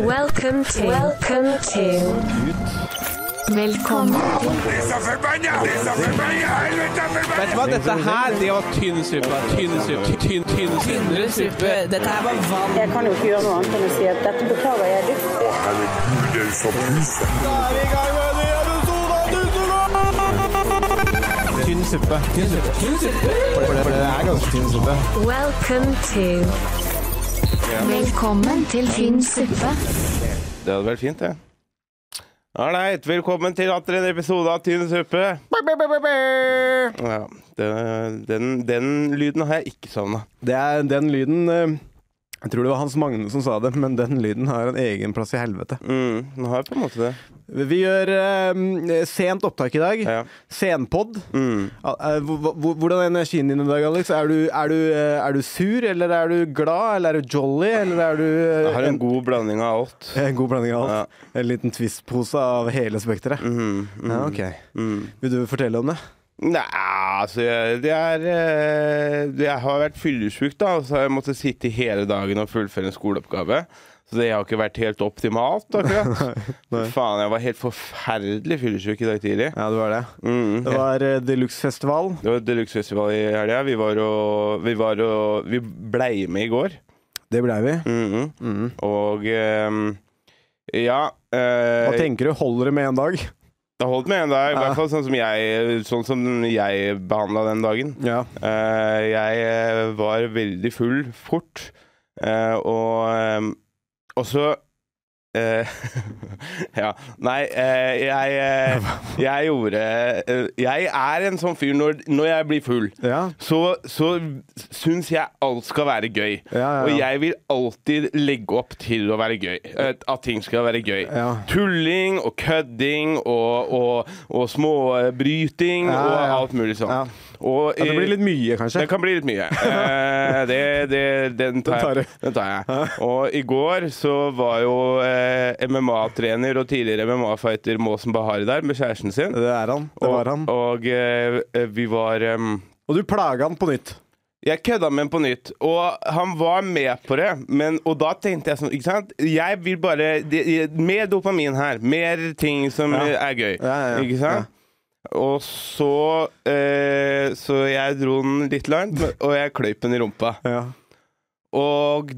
Welcome to Welcome to Velkommen Vet du hva, dette her, det var tynn suppe. Tynn suppe. Tynn, tynn suppe. Dette her var vann. Jeg kan jo ikke gjøre noe annet enn å si at dette beklager jeg dypt. Tynn suppe. Tynn suppe. For, det, for det er ganske tynn suppe. Welcome to Velkommen til tynn suppe. Det hadde vært fint, det. Ålreit, velkommen til atter en episode av Tynn suppe. Ja, det, den, den lyden har jeg ikke savna. Det er den lyden eh, Jeg tror det var Hans Magne som sa det, men den lyden har en egen plass i helvete. Mm, nå har jeg på en måte det. Vi gjør eh, sent opptak i dag. Ja. Senpod. Mm. Ah, eh, hvor- hvor- Hvordan er energien din i dag, Alex? Er du, er, du, eh, er du sur, eller er du glad, eller er du jolly, eller er du eh, Jeg har en god blanding av alt. en god blanding av alt? En liten twistpose av hele spekteret? Mm, mm, Ja, ok. mm. Vil du fortelle om det? Nei, altså jeg, det er eh, det- Jeg har vært fyllesyk, da, og så har jeg måttet sitte hele dagen og fullføre en skoleoppgave. Så det har ikke vært helt optimalt, akkurat. nei. Faen, jeg var helt forferdelig fyllesyk i dag tidlig. Ja, det var det. Mm. Det var eh, Deluxe-festival. Det var Deluxe Festival i helga. Vi var og Vi, var og, vi blei med i går. Det blei vi. Mhm. Og ehm, ja eh, Hva tenker du? Holder det med én dag? Det holdt med en dag, i Ja. hvert fall sånn som jeg, sånn som jeg behandla den dagen. Ja. Eh, jeg eh, var veldig full fort, eh, og ehm, og så eh, Ja. Nei, eh, jeg eh, Jeg gjorde eh, Jeg er en sånn fyr når, når jeg blir full, Ja, så, så syns jeg alt skal være gøy. ja, ja. Og jeg vil alltid legge opp til å være gøy. eh, At ting skal være gøy. Ja. Tulling og kødding og, og, og småbryting Ja, og ja. alt mulig sånn. Ja. Og, ja, det blir litt mye, kanskje. det kan bli litt mye. Eh, det, det, den tar tar du. jeg. Den tar jeg. Og i går så var jo eh, MMA-trener og tidligere MMA-fighter Måsen Bahari der med kjæresten sin. Det er han. Det var han. Og, og eh, vi var em, Og du plaga han på nytt. jeg kødda med ham på nytt, og han var med på det. Men, og da tenkte jeg sånn ikke sant? Jeg vil bare det, Mer dopamin her. Mer ting som Ja. eh, er gøy. Ja, ja, ja. Ikke sant? Og så eh, Så jeg dro den litt langt, men- og jeg kløyp den i rumpa. Ja. Og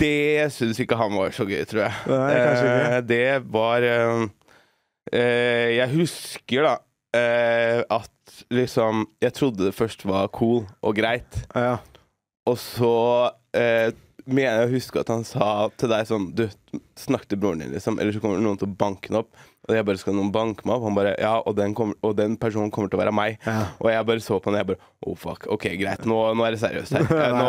det syns ikke han var så gøy, tror jeg. Nei, kanskje ikke. Eh, det var eh, eh, Jeg husker da eh, at liksom Jeg trodde det først var cool og greit. Ja. Og så eh, mener jeg å huske at han sa til deg sånn Du, snakk til broren din, liksom, ellers så kommer noen til å banke den opp. Og jeg bare Skal noen banke meg opp? Han bare Ja, og den, kommer, og den personen kommer til å være meg. Ja. Og jeg bare så på han, og jeg bare Oh, fuck. OK, greit. Nå, nå er det seriøst her. Eh, Nå,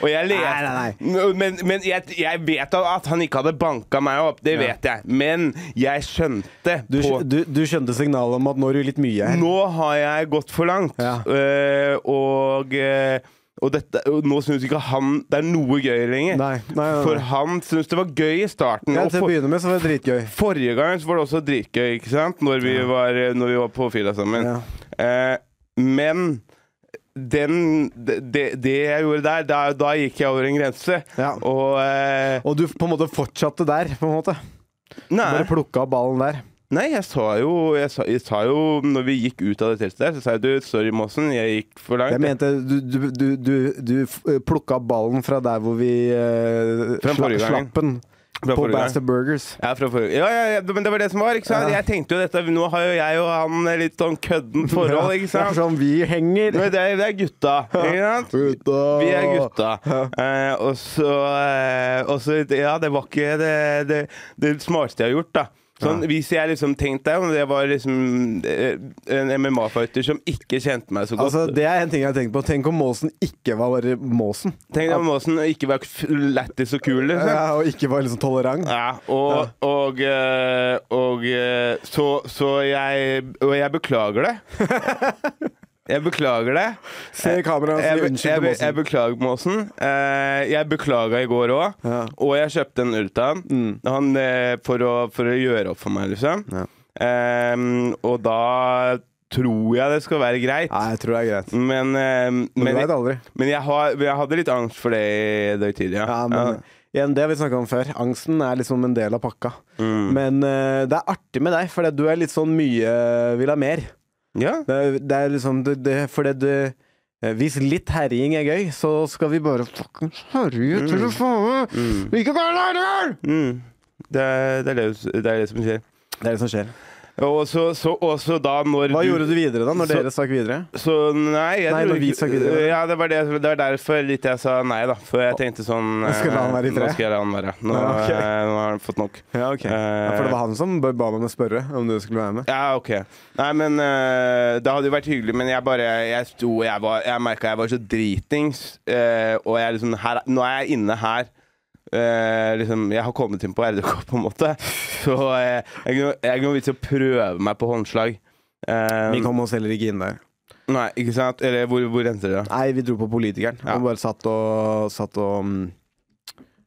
og jeg leste Nei, nei, nei. Nå, Men, men jeg, jeg vet da at han ikke hadde banka meg opp. Det vet jeg. Men jeg skjønte Du, på skj- du, du skjønte signalet om at nå er du litt mye her. nå har jeg gått for langt, Ja. Eh, og, eh, og, dette, og nå syns ikke han det er noe gøy lenger. Nei, nei, nei, nei. For han syns det var gøy i starten. Ja, og til å for, begynne med så var det dritgøy. forrige gang så var det også dritgøy, ikke sant? Når vi, var, når vi var på fylla sammen. Ja. Eh, men den, det, det- det jeg gjorde der, da, da gikk jeg over en grense. Ja. Og eh, Og du på en måte fortsatte der. på en måte nei, Bare plukka opp ballen der. nei, jeg sa jo Jeg sa, jeg sa jo Når vi gikk ut av det teltet der, så sa jeg du, sorry, Måsen, jeg gikk for langt. Jeg mente du, du, du, du, du f- plukka opp ballen fra der hvor vi eh, Fra sla, forrige gangen. slapp den. Fra På forrige gang. Bastard Burgers. Ja, fra forrige ja, ja, ja, men det var det som var, ikke sant? Ja. Jeg tenkte jo dette, nå har jo jeg og han litt sånn kødden forhold, ikke Det sant? er sånn vi henger. Men det er, det er gutta, ikke sant? Gutta. Vi er gutta. Eh, og så eh, og så- Ja, det var ikke det, det, det smarteste jeg har gjort, da. Sånn, Hvis jeg liksom tenkte deg om det var liksom eh, en MMA-fighter som ikke kjente meg så godt Altså, det er en ting jeg har tenkt på. Tenk om Måsen ikke var bare Måsen. Tenk deg om Måsen ikke var f- lættis og kul, liksom. Ja, og ikke var liksom tolerant. Ja, og, og, eh, og eh, så, så jeg Og jeg beklager det. Jeg beklager det. Se i kameraet og Jeg, si be- unnskyld jeg, til be- jeg Måsen. beklager, Måsen. Eh, Jeg beklaga i går òg, Ja. Mm. og jeg kjøpte en øl til han, han eh, for, å, for å gjøre opp for meg, liksom. Ja. Em, og da tror jeg det skal være greit, Nei, jeg tror det er greit. men, eh, Men men, du veit aldri. men jeg, har, jeg hadde litt angst for det i dag tidlig. Ja, men Igjen, det har vi snakka om før. Angsten er liksom en del av pakka. Mm. Men eh, det er artig med deg, for du er litt sånn mye vil ha mer. Ja. Det er, det er liksom det, det, For det du eh, Hvis litt herjing er gøy, så skal vi bare Fuckings herje til det faen! Vi kan være lærere! Mm. Det, er, det, er det, det er det som skjer. Det er det som skjer. Og så, så, og så da når Hva gjorde du videre, da, når Så- dere stakk videre? Så nei, jeg Nei, tror når vi ikke- snakket videre. Ja, det var, det, det var derfor litt jeg sa nei, da. For jeg tenkte sånn Nå skal jeg la han være i eh, fred. Nå skal jeg la han være. Nå, Ja, ok. eh, nå har han fått nok. Ja, ok. Ja, for det var han som ba ba meg om å spørre om du skulle være med. Ja, OK. Nei, men eh, Det hadde jo vært hyggelig, men jeg bare Jeg sto Jeg, var- jeg merka jeg var så dritings, eh, og jeg liksom her, Nå er jeg inne her. Eh, liksom, jeg har kommet inn på RDK, på en måte. Så eh, jeg kan jeg kan jo vits i å prøve meg på håndslag. Eh, Vi kom oss heller ikke inn der. Nei, ikke sant? Eller hvor, hvor endte det? da? Nei, vi dro på politikeren Ja. og bare satt og Satt og mm,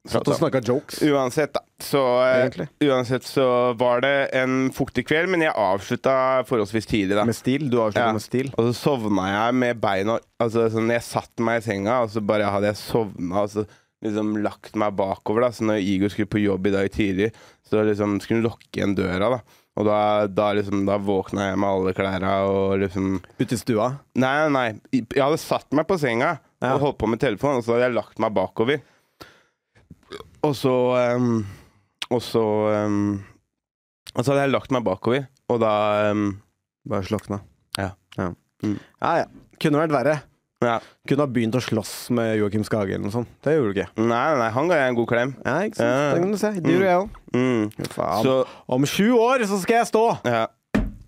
Satt og snakka jokes. Uansett, da. Så, eh, Egentlig. uansett så var det en fuktig kveld, men jeg avslutta forholdsvis tidlig, da. Med stil. Du avslutta Ja. med stil. Og så sovna jeg med beina Altså sånn, Jeg satte meg i senga, og så bare hadde jeg sovna og så liksom lagt meg bakover. da Så når Igor skulle på jobb i dag tidlig, så liksom skulle hun lukke igjen døra. da Og da, da liksom Da våkna jeg med alle klærne og liksom Ute i stua. Nei, nei, nei. Jeg hadde satt meg på senga Ja. og holdt på med telefonen, og så hadde jeg lagt meg bakover. Og så ehm, Og så ehm, Og så hadde jeg lagt meg bakover, og da ehm, Bare slokna. Ja. Ja. Mm. ja ja. Kunne vært verre. ja. Kunne ha begynt å slåss med Joakim Skage eller noe sånt. Det gjorde du ikke. Nei, nei, nei, han ga jeg en god klem. Ja, ikke sant? Ja. Det kan du se. Det gjorde jeg òg. Mm. Faen. Så Om sju år så skal jeg stå! ja.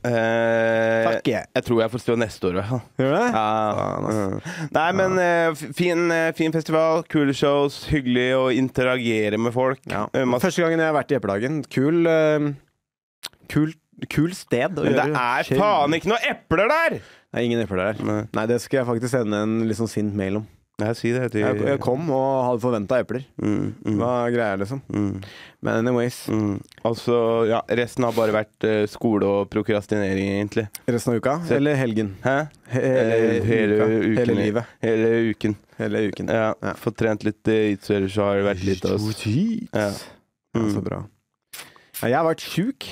Eh, Takk, jeg. jeg tror jeg får stå neste år. i hvert fall. Gjør du det? Ja. Mm. Nei, men eh, f- fin, eh, fin festival, kule shows, hyggelig å interagere med folk. Ja. Eh, masse- Første gangen jeg har vært i Eplehagen. Kul, eh, kul, kul sted å Men det gjøre er shit. faen ikke noe epler der! Det er ingen epler der. Nei, Nei, det skal jeg faktisk sende en litt sånn sint mail om. jeg sier det til Jeg, jeg kom og hadde forventa epler. Mm, mm, Hva er greia, liksom? mm, Men anyways, mm. Altså, ja, resten har bare vært eh, skole og prokrastinering, egentlig. resten av uka Se- eller helgen? Hæ? He Eller hele uka. uken. Hele livet. Hele uken. Hele uken. Ja, Ja. Fått trent litt eh, jitsu, ellers så har det vært litt av oss. Ja. Ja, så Mm. bra. Ja, jeg har vært sjuk.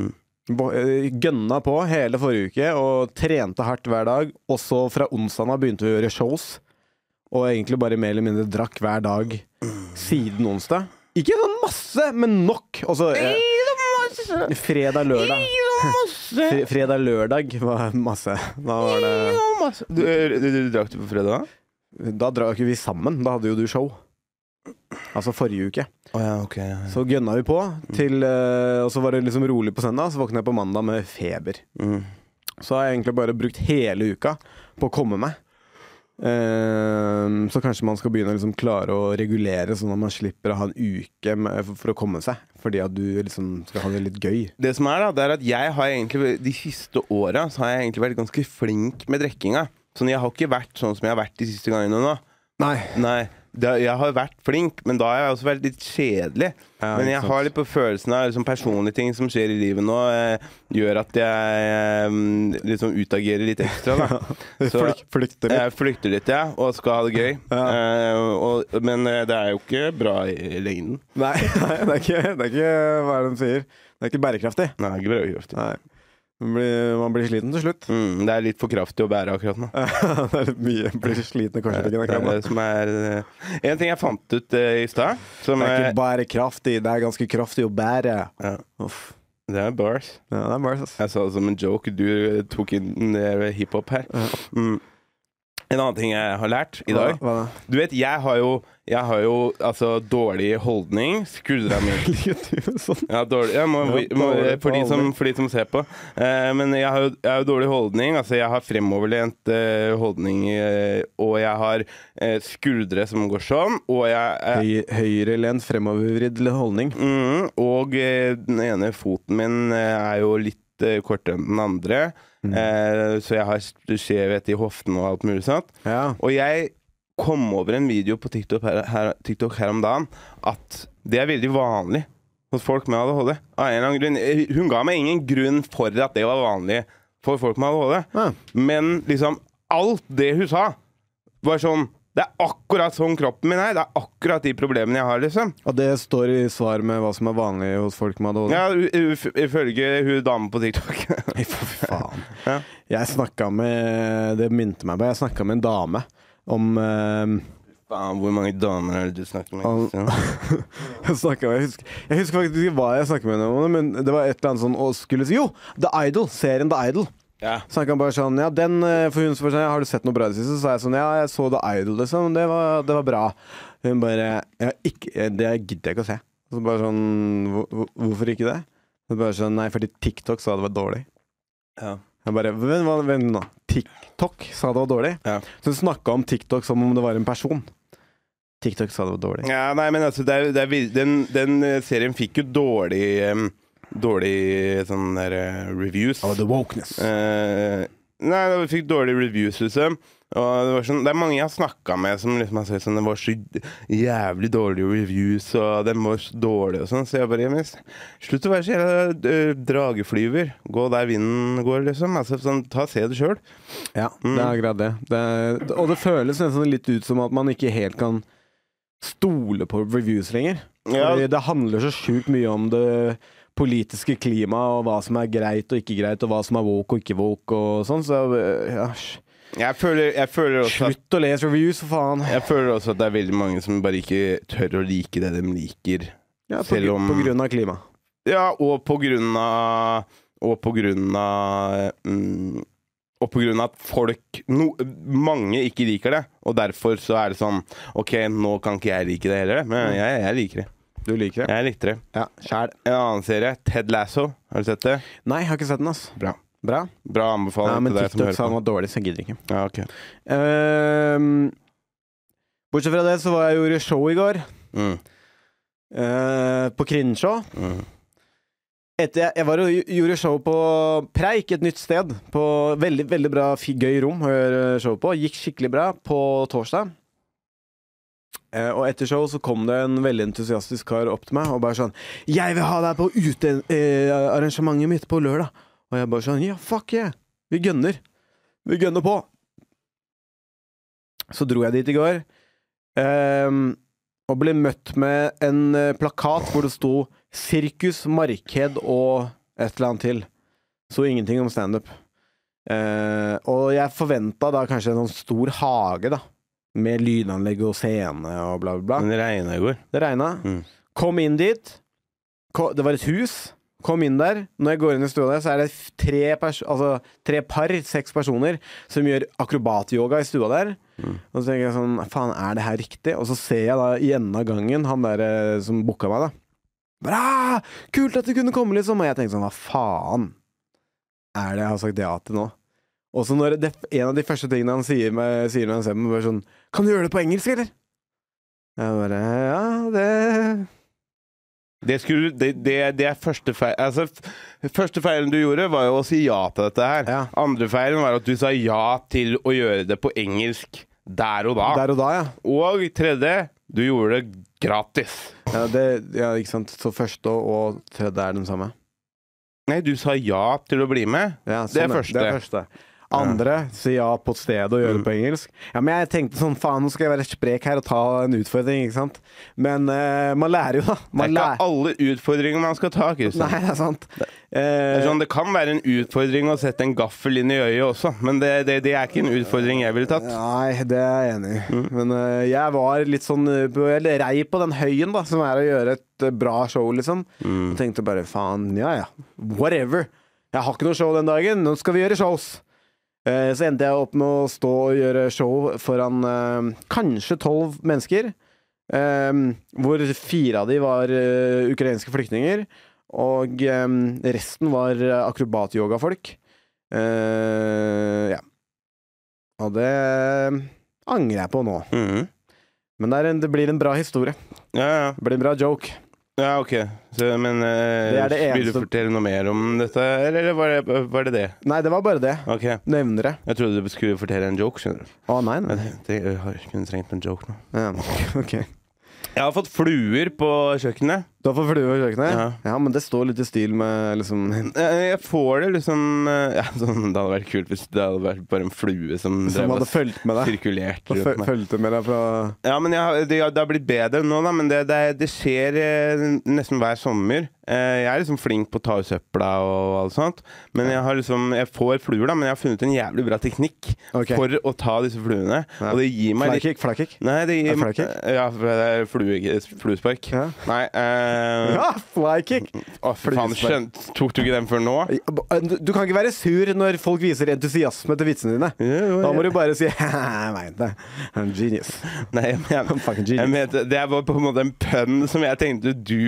Mm. Bo- eh, Gønna på hele forrige uke og trente hardt hver dag. Også fra onsdagen av begynte vi å gjøre shows. Og egentlig bare mer eller mindre drakk hver dag siden onsdag. Ikke sånn masse, men nok. Og Mm. så eh, fredag, lørdag. Fre- Fredag, lørdag var masse. Da var det Du, eh, du, du drakk det på fredag? Da drakk vi sammen. Da hadde jo du show. Altså forrige uke. Å ja, ok. Så gønna vi på, til, eh, og så var det liksom rolig på søndag. Så våkna jeg på mandag med feber. Mm. Så har jeg egentlig bare brukt hele uka på å komme meg. Ehm, så kanskje man skal begynne å liksom klare å regulere, sånn at man slipper å ha en uke med, for, for å komme seg. Fordi at du liksom skal ha det litt gøy. Det som er da, det er at jeg har egentlig De siste åra så har jeg egentlig vært ganske flink med drikkinga. Sånn, jeg har ikke vært sånn som jeg har vært de siste gangene nå. Nei. Nei, det, jeg har vært flink, men da har jeg også vært litt kjedelig. Ja, men ikke jeg sant. har litt på følelsen av liksom, personlige ting som skjer i livet nå, eh, gjør at jeg eh, liksom utagerer litt ekstra. Da. Så- Flyk, flykter litt. Jeg flykter litt, jeg, og skal ha det gøy. Ja. Eh, og, men eh, det er jo ikke bra i lengden. Eh, Nei, nei det, er ikke, det er ikke Hva er det de sier? Det er ikke bærekraftig. Nei, ikke bra i kraftig. Nei. Man blir, man blir sliten til slutt. Mm, det er litt for kraftig å bære akkurat nå. det er litt mye. Blir sliten i Det korsryggen. er akkurat nå. det som er eh, En ting jeg fant ut eh, i stad som Det er eh, ikke bare kraftig, det er ganske kraftig å bære. ja, Uff. Det er bars. Ja, det er sånn. bars, ass. Jeg sa det som en joke. Du eh, tok inn eh, hiphop her. Mm. En annen ting jeg har lært i dag Hva, hva da? Du vet, jeg har jo, jeg har jo altså, dårlig holdning. Skuldra mi Livet sånn. ja, dårlig, jeg må, Ja, må, dårlig for, de som, holdning. for de som ser på. Eh, men jeg har, jo, jeg har jo dårlig holdning. Altså, jeg har fremoverlent eh, holdning, eh, og jeg har eh, skuldre som går sånn, og jeg eh, Høy, Høyrelent, fremovervridd holdning. Mm, og eh, den ene foten min eh, er jo litt eh, kortere enn den andre. Mm. Eh, så jeg har skjevhet i hoften og alt mulig sånt. Ja. Og jeg kom over en video på TikTok her, her, TikTok her om dagen at det er veldig vanlig hos folk med ADHD. Av en eller annen grunn. Eh, Hun ga meg ingen grunn for at det var vanlig for folk med ADHD. Ja. Men liksom alt det hun sa, var sånn Det er akkurat sånn kroppen min er. Det er akkurat de problemene jeg har, liksom. Og det står i svar med hva som er vanlig hos folk med ADHD. Ja, u- u- Ifølge hun damen på TikTok. Nei, for faen. Ja. Jeg snakka med Det minte meg på Jeg snakka med en dame om eh, Faen, hvor mange damer er det du snakker med? liksom? Al- Kristian? jeg, snakket, jeg, husker, jeg husker faktisk ikke hva jeg snakket med henne om, men det var et eller annet sånn og skulle si Jo! The Idol! Serien The Idol. Ja. Snakka bare sånn Ja, den eh, for hun spør sånn, «Ja, Har du sett noe bra i det siste? Så sa jeg sånn Ja, jeg så The Idol, liksom. Det var, det var bra. Hun bare ja, ikke, eh, Det gidder jeg ikke å se. Så bare sånn «Hvor- hvor- Hvorfor ikke det? Så bare sånn Nei, fordi TikTok sa det var dårlig. Ja. Jeg bare Vent, hva- vent nå. TikTok sa det var dårlig. Ja. Så hun snakka om TikTok som om det var en person. TikTok sa det var dårlig. ja, nei, men altså, det er, det er, vir- den, den eh, serien fikk jo dårlig em, Dårlig sånn der eh, reviews. the wokeness. Eh, nei, det fikk dårlige reviews, liksom. Og det, var sånn, det er mange jeg har snakka med som liksom har sagt sånn Det var så jævlig dårlige reviews, og den var så dårlig og sånn. Så jeg bare «Men Slutt å være så jævla eh, drageflyver. Gå der vinden går, liksom. Altså, sånn, ta og Se det sjøl. Ja, Mm. det er akkurat det. det er, og det føles nesten litt ut som at man ikke helt kan stole på reviews lenger. Ja. Fordi det handler så sjukt mye om det politiske klimaet, og hva som er greit og ikke greit, og hva som er woke og ikke woke og sånn. Så øh, ja, sj- Jeg føler, jeg føler også at slutt å lese reviews, for faen. jeg føler også at det er veldig mange som bare ikke tør å like det de liker. Ja, på, selv gru- om- på grunn av klima. Ja, og på grunn av Og på grunn av mm, Og på grunn av at folk no, Mange ikke liker det, og derfor så er det sånn OK, nå kan ikke jeg like det heller, men jeg, jeg liker det. Du liker det? Jeg likte det. Ja, sjæl. En annen serie, Ted Lasso. Har du sett det? Nei, jeg har ikke sett den, ass. Bra. Bra. Bra Nei, anbefaling men til deg som TikTok sa hører den på. var dårlig, så jeg gidder ikke. Ja, ok. Ehm, bortsett fra det så var jeg jo i show i går. mm, Eh, på Krinsjå. mm. Etter jeg, jeg var og gj- gjorde show på Preik, et nytt sted. På veldig veldig bra, fi- gøy rom å gjøre show på. Gikk skikkelig bra på torsdag. Eh, og etter show så kom det en veldig entusiastisk kar opp til meg og bare sånn 'Jeg vil ha deg på utearrangementet mitt på lørdag.' Og jeg bare sånn 'Ja, fuck yeah. Vi gønner. Vi gønner på.' Så dro jeg dit i går. Ehm, og ble møtt med en eh, plakat hvor det sto 'Sirkus, marked og et eller annet til'. Så ingenting om standup. Eh, og jeg forventa da kanskje en sånn stor hage, da. Med lydanlegg og scene og bla, bla, bla. Men det regna i går. Det regna. Mm. Kom inn dit. Ko- Det var et hus. Kom inn der. Når jeg går inn i stua der, så er det f- tre, pers altså, tre par, seks personer, som gjør akrobatyoga i stua der. Og så tenker jeg sånn Faen, er det her riktig? Og så ser jeg da i enden av gangen han der eh, som booka meg, da. Bra! Kult at du kunne komme, liksom. Og jeg tenker sånn Hva faen er det jeg har sagt ja til nå? Og så når det, en av de første tingene han sier, meg, sier når han ser meg, bare sånn Kan du gjøre det på engelsk, eller? Jeg bare Ja, det Det, skulle, det, det, det er første feil altså, f- Første feilen du gjorde, var jo å si ja til dette her. Ja. Andre feilen var at du sa ja til å gjøre det på engelsk der og da. Der og da, ja. Og tredje, du gjorde det gratis. Ja, det, ja ikke sant. Så første og, og tredje er den samme. Nei, du sa ja til å bli med. Ja, Det er sånn, første. Det er første. Andre si ja på stedet og gjøre Mm. det på engelsk. Ja, men jeg tenkte sånn faen, nå skal jeg være sprek her og ta en utfordring, ikke sant. Men eh, man lærer jo, da. Det er Man ikke lærer. alle utfordringer man skal ta, Kristian. Nei, det er sant. Det, Eh, er sånn, det kan være en utfordring å sette en gaffel inn i øyet også, men det, det, det er ikke en utfordring jeg ville tatt. Nei, det er jeg enig i. Men eh, jeg var litt sånn eh, på- Eller rei på den høyen, da, som er å gjøre et eh, bra show, liksom. Og tenkte bare faen, ja ja. Whatever. Jeg har ikke noe show den dagen. Nå skal vi gjøre shows. Eh, Så endte jeg opp med å stå og gjøre show foran eh, kanskje tolv mennesker. eh, Hvor fire av de var eh, ukrainske flyktninger. Og eh, resten var eh, akrobatyogafolk. Eh, Ja. Og det eh, angrer jeg på nå. Mhm. Men det, er en, det blir en bra historie. Ja, ja. Det blir en bra joke. ja, ok. Så, men eh, Det er det vil du eneste- fortelle noe mer om dette, eller eller var det var det? det? Nei, det var bare det. Ok, Nevner det. jeg trodde du skulle fortelle en joke, skjønner du. Å, nei, nei. Jeg, tenkte, jeg har ikke trengt en joke nå. Ja, ok. Jeg har fått fluer på kjøkkenet. Du har fått flue på kjøkkenet? Ja. Ja. men det står litt i stil med liksom Eh, Jeg får det liksom eh, ja, sånn, Det hadde vært kult hvis det hadde vært bare en flue som, Som hadde fulgt med deg. sirkulert Og rundt føl- meg. Fulgte med deg fra Ja, men jeg, har- det, det har blitt bedre nå, da, men det, det, det skjer eh, nesten hver sommer. Eh, jeg er liksom flink på å ta ut søpla og alt sånt, men jeg, har liksom, jeg får fluer, da, men jeg har funnet en jævlig bra teknikk Ok. for å ta disse fluene. Ja. Og det gir meg litt Flykick, flykick. Nei, det Er gir det flykick? Ja, for det er flue, fluespark. Ja. Nei eh, Ja, flykick! Å, for faen, Fluespark. skjønt, tok du ikke den før nå? Du du kan ikke være sur når folk viser entusiasme til vitsene dine. Da må du bare si Jeg vet det. I'm genius. Nei, jeg mener, I'm fucking jeg genius. mente, det var på en måte en pønn som jeg tenkte du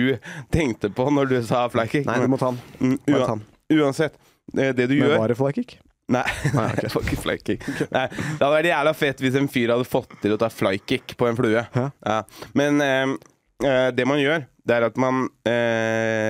tenkte på når du sa flykick. Nei, du må ta den. Mm, Bare ua- ta den. Uansett, eh, det, det du Men gjør var det flykick? Nei, det var ikke flykick. Nei, det hadde vært jævla fett hvis en fyr hadde fått til å ta flykick på en flue. Ja. Men ehm, eh, det man gjør, det er at man eh,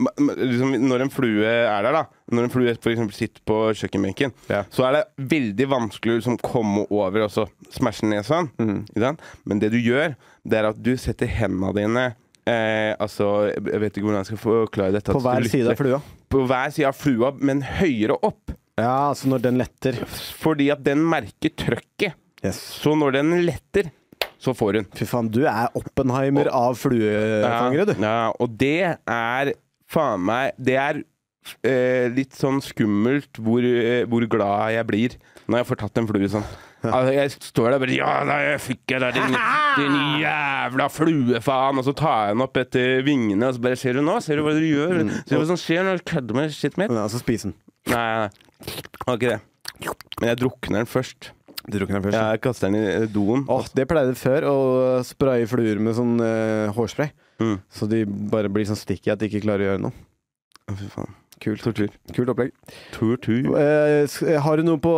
ma- ma- liksom, Når en flue er der, da Når en flue for eksempel sitter på kjøkkenbenken, Ja. så er det veldig vanskelig å liksom, komme over og så smashe den ned sånn. Mm. Ikke sant? Men det du gjør, det er at du setter hendene dine Eh, altså, jeg vet ikke hvordan jeg skal forklare dette. På hver side av flua. På hver side av flua, men høyere opp. Ja, altså når den letter. Fordi at den merker trøkket. Yes. Så når den letter, så får hun. Fy faen, du er Oppenheimer av fluefangere, du. Ja, og det er faen meg Det er eh, litt sånn skummelt hvor, eh, hvor glad jeg blir når jeg får tatt en flue sånn. Altså, jeg står der og bare Ja, da jeg fikk jeg da, din, din jævla fluefaen! Og så tar jeg den opp etter vingene, og så bare Ser du nå? Ser du hva du gjør? Ser du hva som skjer når du kødder med shit mitt? Nei, Ja, altså spis den. nei, nei. Det var ikke det. Men jeg drukner den først. Du drukner den først. Jeg kaster den i eh, doen. Åh, det pleide jeg før, å spraye fluer med sånn eh, hårspray. Mm. Så de bare blir sånn sticky at de ikke klarer å gjøre noe. Å, Fy faen. Kult. Tortur. Kult opplegg. Tortur. Eh, s- har du noe på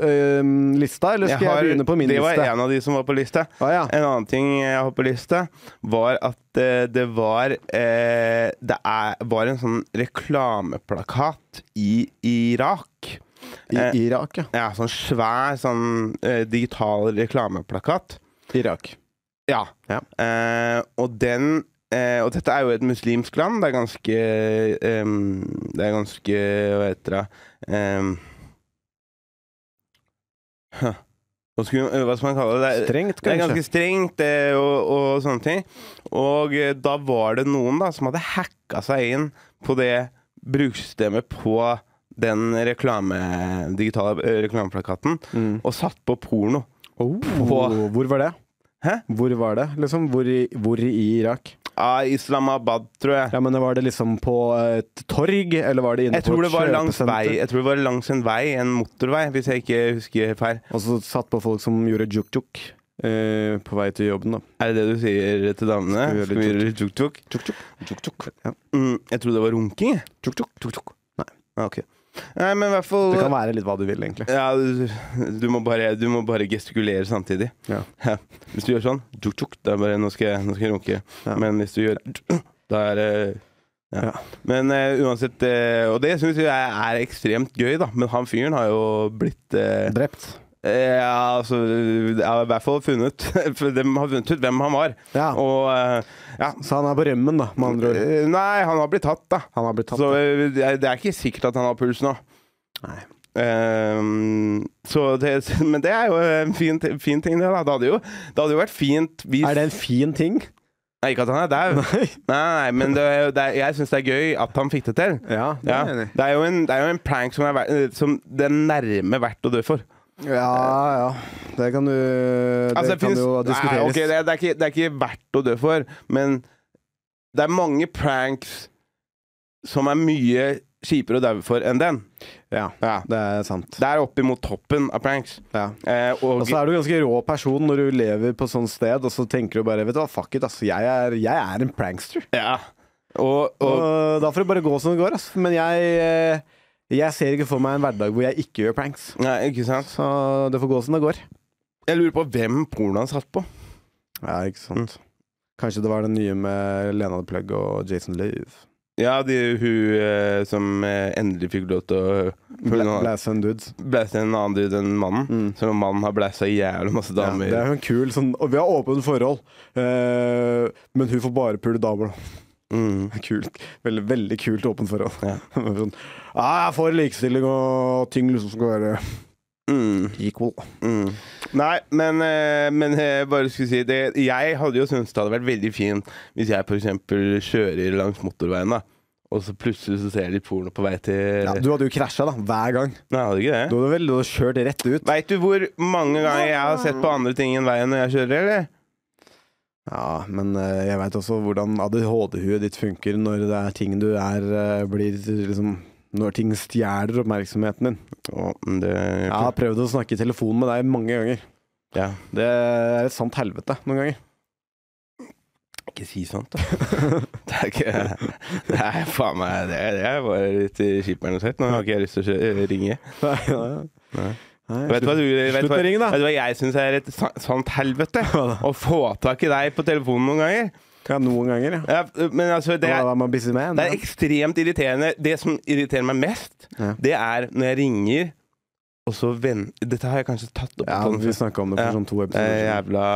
eh, lista, eller skal jeg, begynne på min det liste? var en av de som var på lista. Ah, ja. En annen ting jeg har på lista, var at eh, det var eh, Det er, var en sånn reklameplakat i Irak. I eh, Irak, ja. Ja, sånn svær sånn eh, digital reklameplakat. Irak. Ja. Ja. Eh, og den eh, Og dette er jo et muslimsk land. Det er ganske ehm, Det er ganske Hva heter det Ehm, huh. hva, skulle, eh, hva skal man kalle det? Det er- Strengt, det er kanskje. ganske strengt eh, og, og sånne ting. Og eh, da var det noen da som hadde hacka seg inn på det brukersystemet på den reklame, digitale eh, reklameplakaten Mm. og satt på porno. Oh, På- hvor var det? Hæ? Hvor var det, liksom? Hvor i, hvor i Irak? Av Islamabad, tror jeg. Ja, men Var det liksom på et torg, eller var det inne Jeg på tror, et det var langs kjøpesenter? vei, jeg tror det var langs en vei, en motorvei, hvis jeg ikke husker feil. Og så satt på folk som gjorde juk-juk eh, på vei til jobben, da. Er det det du sier til damene? Skal vi gjøre Skal vi gjøre litt tuk-tuk? Juk-juk. Juk-juk. Ja. Mm, jeg trodde det var runking. jeg. Juk-juk. Juk-juk. Nei. Ah, ok. Nei, men i hvert fall Det kan være litt hva du vil, egentlig. ja, du, du, må bare, du må bare gestikulere samtidig. Ja. Hvis du gjør sånn, tuk-tuk, da er det bare nå skal, jeg- nå skal jeg runke. Ja. Men hvis du gjør da er det ja. Ja. Men eh, uansett eh, Og det syns jeg er ekstremt gøy, da. Men han fyren har jo blitt eh, Drept. Eh, Ja, altså Jeg har i hvert fall funnet for De har funnet ut hvem han var. Ja. Og eh, ja. Så han er på rømmen, da, med andre ord. Eh, Nei, han har blitt tatt, da. Han har blitt tatt. Så eh, det er- det er ikke sikkert at han har puls nå. Nei. Eh, så det, men det er jo en fin, ti- fin ting, det. da Det hadde jo, det hadde jo vært fint hvis Er det en fin ting? Nei, Ikke at han er dau, nei, Nei. nei, men det, er jo- det, er- jeg syns det er gøy at han fikk det til. Ja, det Ja. er jeg enig i. Det, er jo en, det er jo en prank som er, ver- eh, som det er nærme verdt å dø for. Ja, ja. Det kan du Det Altså, kan finnes- jo diskuteres. Nei, ok, det, er- det, er ikke, det er ikke verdt å dø for, men det er mange pranks som er mye kjipere å daue for enn den. Ja, Ja. det er sant. Det er oppimot toppen av pranks. Ja. Eh, og, Og så Altså, er du ganske rå person når du lever på sånn sted, og så tenker du bare Vet du hva, fuck it, altså. Jeg er, jeg er en prankster. ja. og, og Og da får det bare gå som det går, ass. Men jeg, eh, jeg ser ikke for meg en hverdag hvor jeg ikke gjør pranks. Nei, ikke sant? Så det får gå som det går. Jeg lurer på hvem pornoen satt på. Ja, ikke sant. Kanskje det var det nye med Lena The Plug og Jason Lave. Ja, de, hun eh, som eh, endelig fikk lov til å for hun Bla, har Blaze and Dudes. Blæste en annen dude enn mannen. Selv om mannen har blæsta jævlig masse Ja, damer. det er jo en kul sånn Og vi har åpent forhold, eh, men hun får bare pule damer, da. Mm. Kult. Veldig, veldig kult åpent forhold. Ja. sånn, ja, jeg får likestilling og ting liksom skal være Mm. equal. Mm. Nei, men, eh, men jeg bare skulle si det. Jeg hadde jo syntes det hadde vært veldig fint hvis jeg f.eks. kjører langs motorveien, da. Og så plutselig så ser jeg litt porno på vei til Ja, du hadde jo krasja, da, hver gang. Nei, jeg hadde ikke Du det. hadde vel du hadde kjørt rett ut. Veit du hvor mange ganger jeg har sett på andre ting enn veien når jeg kjører, eller? Ja, men eh, jeg veit også hvordan ADHD-huet ditt funker når det er ting du er eh, blir liksom Når ting stjeler oppmerksomheten din. Å, men det Jeg har prøvd å snakke i telefonen med deg mange ganger. ja. Det er et sant helvete noen ganger. Ikke si sånt, da. Det er ikke Det er faen meg Det er, det er bare litt kjipt, eller noe sånt. Nå har ikke jeg lyst til å kjø- ringe. Nei, nei. Nei. Nei, Vet du hva, du, vet, slutt du hva, å ringe, da. vet du hva jeg syns er et sa- sant helvete? Hva da? Å få tak i deg på telefonen noen ganger. Ja, noen ganger, ja. Ja, men altså, det er, man busy man, det ja. er ekstremt irriterende. Det som irriterer meg mest, Ja. det er når jeg ringer, og så venn... Dette har jeg kanskje tatt opp ja, på den vi snakka om det for Ja. sånn to Det er episoder siden. jævla,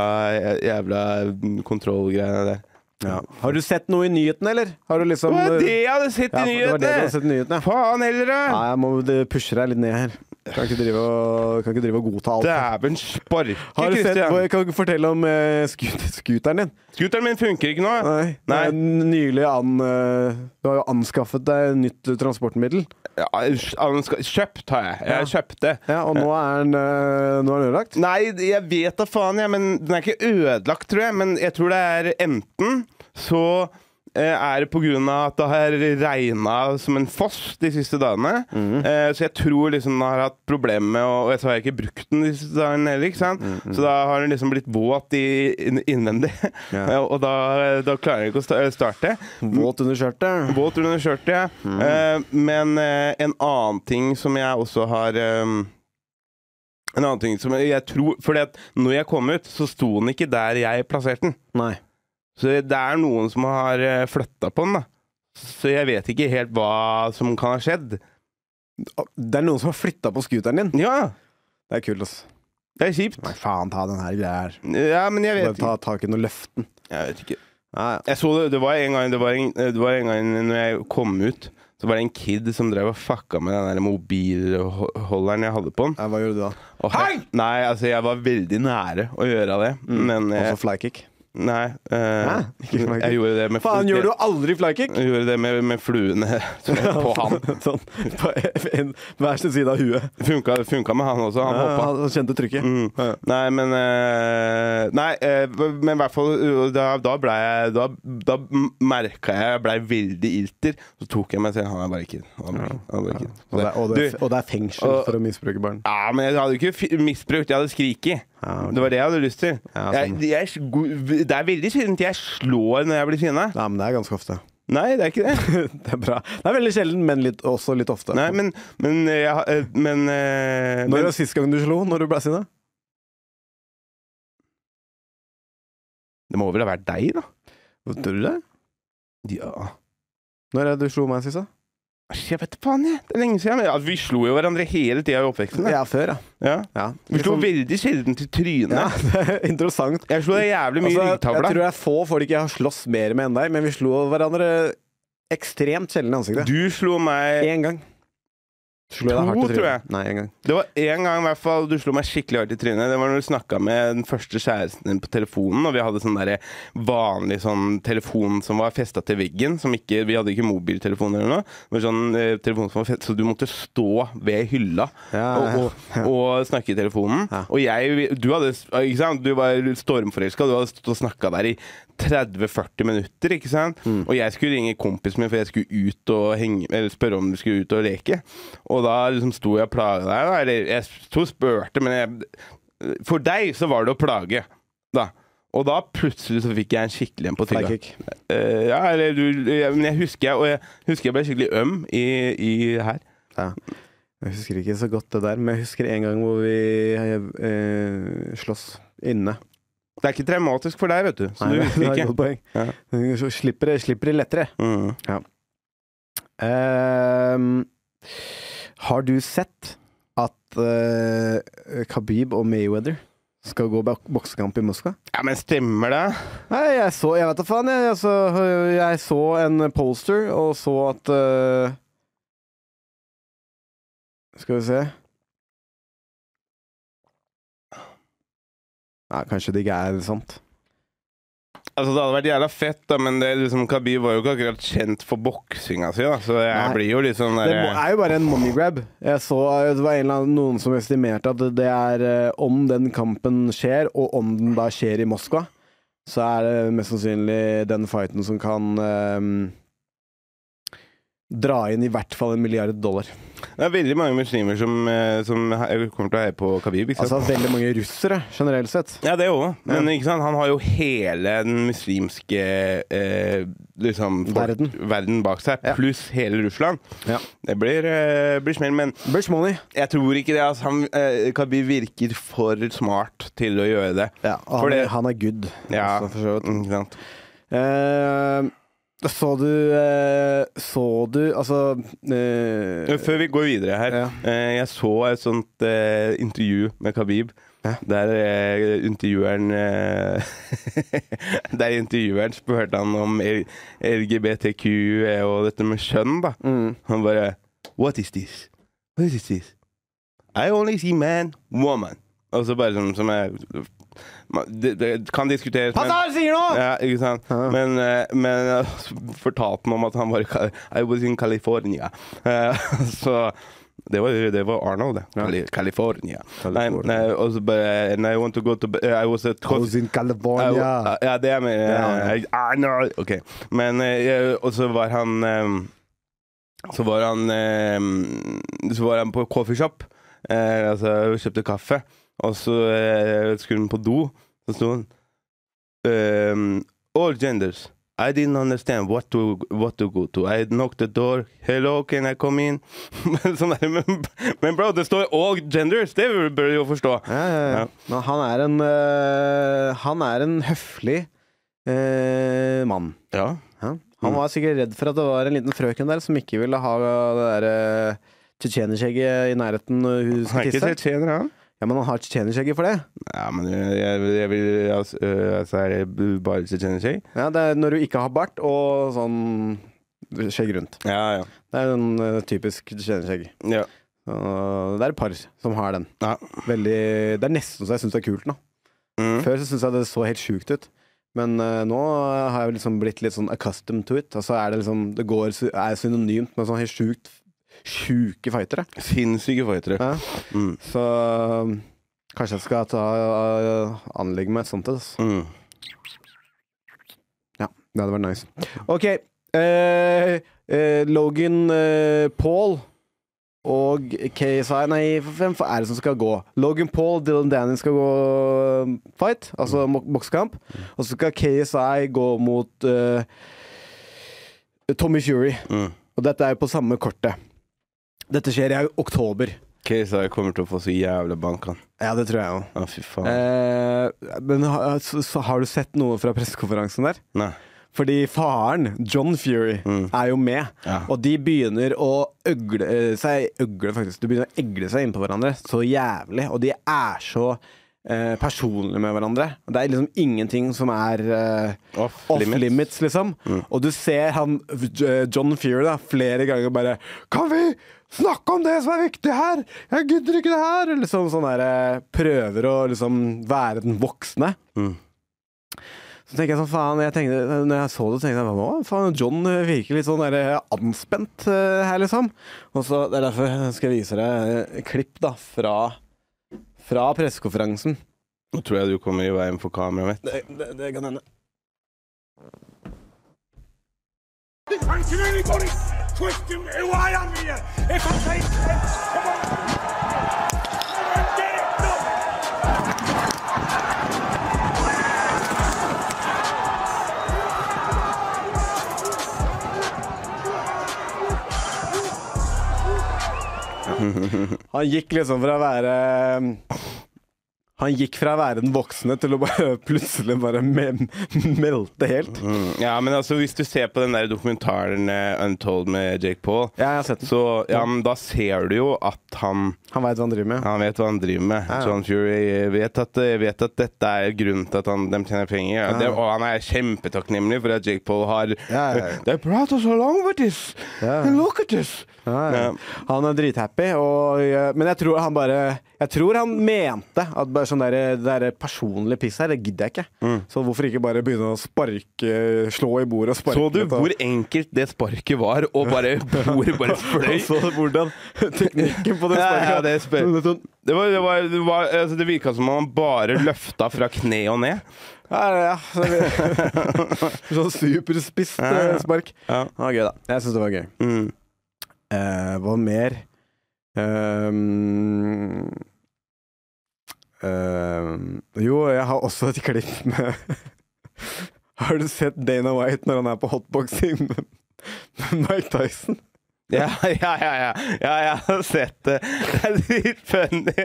jævla kontrollgreiene der. Ja. Har du sett noe i nyhetene, eller? Har du Det liksom var det jeg hadde sett Ja, i det var det du hadde nyhetene! sett i nyhetene. ja. Faen heller, Ja, da! jeg må det pusher deg litt ned her. Kan ikke drive og, kan ikke drive og godta alt. Dæven sparke, Har du sett, Christian. kan du fortelle om eh, skut, skuteren din? Scooteren min funker ikke nå. Nei. Nei. Det er Nylig an, eh, Du har jo anskaffet deg et nytt eh, transportmiddel. Ja, han skal- kjøpt har jeg. Jeg har kjøpt det. Ja, og nå er den, eh, nå er den ødelagt. Nei, jeg vet da faen, jeg, men den er ikke ødelagt, tror jeg. Men jeg tror det er enten så eh, er det på grunn av at det har regna som en foss de siste dagene. Eh, så jeg tror liksom den har hatt problemer med å- Og jeg så har jeg ikke brukt den de siste dagene heller, ikke sant. Så da har den liksom blitt våt i, inn- innvendig. Ja. Eh, og da, da klarer jeg ikke å sta- starte. Våt under skjørtet. Våt under skjørtet, ja. Eh, men eh, en annen ting som jeg også har eh, En annen ting som jeg tror Fordi at når jeg kom ut, så sto den ikke der jeg plasserte den. Nei. Så det er noen som har uh, flytta på den, da. Så jeg vet ikke helt hva som kan ha skjedd. Det er noen som har flytta på skuteren din. Ja, Det er kult, ass. det er kjipt. Nei, faen ta den her greia her. Ja, men jeg Bare vet, ikke. ta tak i den og løft den. jeg vet ikke. Ja, ja. Jeg så det, det var en gang Det var en, eh, det var en gang når jeg kom ut, så var det en kid som drev og fucka med den der mobilholderen jeg hadde på den. Ja, Hva gjorde du da? Og jeg- Nei, altså jeg var veldig nære å gjøre det, men eh, Mm. Også flykick? Nei. eh, Hæ? Ikke smaker. jeg gjorde det med Faen, gjør du aldri flykick? Jeg gjorde det med, med fluene på han. sånn, på en, hver sin side av huet. Funka, funka med han også, han Ja, hoppa. han kjente trykket. Mm. Ja. Nei, men eh, Nei, eh, men i hvert fall eh, da, da blei jeg Da, da merka jeg jeg blei veldig ilter. Så tok jeg meg selv Han er bare kid. Han er bare- han er bare kid. Og det, er- og, det, er- Du, og det er fengsel og- for å misbruke barn. Ja, men jeg hadde ikke fi- misbrukt, jeg hadde skriket. Ja, ok. Det var det jeg hadde lyst til. Ja, jeg, sånn. jeg, er go- det er veldig sjelden jeg slår når jeg blir sinna. Nei, men det er ganske ofte. Nei, det er ikke det. det er bra. Det er veldig sjelden, men litt, også litt ofte. Nei, men Men, jeg, har- eh, men, eh, Når men var sist gang du slo? Når du ble sinna? Det må vel ha vært deg, da? Tror du det? Ja. Når er det du slo meg sist, da? Asj, Jeg vet faen, jeg. Det er lenge siden. Men, ja, vi slo jo hverandre hele tida i oppveksten. da. Ja, før, ja. Ja. ja. Vi slo Liksom- veldig sjelden til trynet. ja, det er interessant. Jeg slo deg jævlig mye i Altså, jeg ryggtavla. tror det er få folk jeg har slåss mer med enn deg, men vi slo hverandre ekstremt sjelden i ansiktet. Du slo meg Én gang. Slo To, deg hardt i trynet. tror jeg. Nei, en gang. Det var én gang i hvert fall du slo meg skikkelig hardt i trynet. Det var når du snakka med den første kjæresten din på telefonen, og vi hadde sånn derre vanlig sånn telefon som var festa til veggen. Som ikke, vi hadde ikke mobiltelefon eller noe. Det var sånn eh, telefon som var fest, Så du måtte stå ved hylla Ja, og, og, og snakke i telefonen. Ja. Og jeg Du hadde ikke sant? Du var stormforelska, du hadde stått og snakka der i 30-40 minutter, ikke sant? Mm. Og jeg skulle ringe kompisen min, for jeg skulle ut og henge Eller spørre om du skulle ut og leke. Og da liksom sto jeg og plaga deg, da. Eller jeg sto og spurte, men jeg For deg så var det å plage, da. Og da plutselig så fikk jeg en skikkelig en på tygga. Flykick. Eh, ja, eller du ja, Men jeg husker jeg, og jeg husker jeg ble skikkelig øm i, i her. Ja. Jeg husker ikke så godt det der, men jeg husker en gang hvor vi eh, slåss inne. Det er ikke traumatisk for deg, vet du. Så Nei, du det husker er et ikke. godt poeng. Ja. Så Slipper, det- slipper det lettere. Mm. Ja. Ehm, har du sett at eh, Khabib og Mayweather skal gå bak- boksekamp i Moskva? Ja, men stemmer det? Nei, jeg så Jeg vet da faen, jeg. Jeg så, jeg så en poster og så at eh, Skal vi se Nei, kanskje det ikke er sant. Altså, det hadde vært jævla fett, da, men det, er liksom, Khabib var jo ikke akkurat kjent for boksinga si, da, så jeg Nei. blir jo litt sånn Det må- derre er jo bare en money grab. Jeg så eh, Det var en eller annen, noen som estimerte at det er eh, om den kampen skjer, og om den da skjer i Moskva, så er det mest sannsynlig den fighten som kan eh, dra inn i hvert fall en milliard dollar. eh, Det er veldig mange muslimer som, eh, som he- kommer til å heie på Khabib, ikke sant? Altså veldig mange russere, generelt sett. Ja, det òg. Men ikke sant? han har jo hele den muslimske eh, liksom, Verden. verden bak seg, Ja. pluss hele Russland. Ja. Det blir, eh, blir smell, men Bush money. jeg tror ikke det. Altså, han, eh, Khabib virker for smart til å gjøre det. Ja, og For han, det- er- han er good. Ja. altså, for så vidt. Mm, Ikke sant? Eh, så du eh, Så du Altså eh, Før vi går videre her. Ja. eh, Jeg så et sånt eh, intervju med Khabib. Ja. Der eh, intervjueren eh, Der intervjueren spurte han om L- LGBTQ eh, og dette med kjønn, da. mm. Han bare What is this? What is this? I only see man, woman. Og så bare sånn som er man- Det, det kan diskuteres, Pass men hva du sier nå! ja, ikke sant? Ja. Men, eh, men eh, fortalte meg om at han var i Kal- I was in California. Eh, så det var, det var Arnold, det. Cali California. Nei, California. nei, og så bare And I want to go to be- eh, I was at I was in I California. wa- ja, det er med Ja. eh, Arnold. Ok. Men eh, Og så var han eh, Så var han eh, Så var han på coffeeshop. eh, altså kjøpte kaffe. Og så eh, skulle han på do. Så sto han ehm, All genders. I didn't understand what to, what to go to. I knocked the door. Hello, can I come in? sånn der, men, men bro, det står all genders! Det bør du jo forstå. Ja, ja, ja. Ja. Men han er en eh, Han er en høflig eh, mann. Ja. Ja. Han Mm. var sikkert redd for at det var en liten frøken der som ikke ville ha det derre uh, tsjetsjenerskjegget i nærheten når hun Han skal er ikke tisse. tsjetsjener, han. Ja, Men han har tsjetsjenerskjegget for det. Ja, men jeg, jeg, jeg vil altså, øh, altså er det bare tsjetsjener seg? Ja, det er Når du ikke har bart og sånn skjegg rundt. Ja, ja. Det er en eh, typisk tsjetsjenerskjegg. ja. Og Det er et par som har den. ja. Veldig, det er nesten så jeg syns det er kult nå. Mm. Før så syntes jeg det så helt sjukt ut. Men eh, nå har jeg liksom blitt litt sånn accustomed to it. Altså er det liksom Det går, sy- er synonymt med sånn helt sjukt sjuke fightere. Sinnssyke fightere. Ja. Mm. Så um, kanskje jeg skal ta, eh, anlegge meg et sånt et. altså. ass. Mm. Ja, det hadde vært nice. Ok. eh, eh, Logan eh, Paul og KSI Nei, hvem fa- er det som skal gå? Logan Paul Dylan Danny skal gå eh, fight, altså mo- boksekamp. Og så skal KSI gå mot eh, Tommy Fury. Mm. Og dette er jo på samme kortet. Dette skjer i oktober. KSI kommer til å få så jævla bank, han. Ja, det tror jeg òg. Å, fy faen. Eh, men ha, så, så har du sett noe fra pressekonferansen der? Nei. Fordi faren, John Fury, Mm. er jo med. Ja. Og de begynner å øgle eh, seg øgle, faktisk. De begynner å egle seg innpå hverandre så jævlig. Og de er så eh, personlige med hverandre. Det er liksom ingenting som er eh, Off off limits. Mm. limits, liksom. Og du ser han eh, John Fury da flere ganger bare Kan vi snakke om det som er viktig her? Jeg gidder ikke det her! Liksom sånn der, eh, prøver å liksom være den voksne. Mm. Så tenker jeg sånn, faen, jeg tenkte, når jeg så det, tenkte jeg hva faen, John virker litt sånn der, anspent eh, her, liksom. Og så, Det er derfor jeg skal vise deg eh, klipp da, fra, fra pressekonferansen. Nå tror jeg du kommer i veien for kameraet mitt. Det, det, det kan hende. And can anybody question who I am here? If I say it's come on. Come on, get it done. Han gikk liksom fra å være Han gikk fra å være den voksne til å bare plutselig bare me melte helt. Ja, men altså, hvis du ser på den der dokumentaren eh, Untold med Jake Paul, Ja, jeg har sett den. så ja, men da ser du jo at han Han veit hva han driver med. Han vet hva han driver med. Ja. John Fury eh, vet at, vet at dette er grunnen til at han, de tjener penger. Og Det, og han er kjempetakknemlig for at Jake Paul har Ja, ja, ja. They brought us along with this! Ja. And look at this! Ja, ja. Ja. Han er drithappy, og, eh, men jeg tror han bare Jeg tror han mente at bare sånn der, det der personlige piss her, det gidder jeg ikke. Mm. Så hvorfor ikke bare begynne å sparke Slå i bordet og sparke Så du litt, da? hvor enkelt det sparket var, og bare bordet bare fløy? Og så hvordan teknikken på det Ja, sparket ja, det spør- Sånn, sånn, Det, var, det, var, det, var, altså, det virka som om han bare løfta fra kne og ned. Ja, ja, ja. Så vi- Sånn superspisst ja. eh, spark. Ja. Det var gøy, da. Jeg syns det var gøy. Mm. Eh, hva mer? Ehm, ehm, jo, jeg har også et klipp med Har du sett Dana White når han er på hotboxing med med Mike Tyson? Ja, ja, ja, ja. ja, jeg har sett det. Det er dritfunny.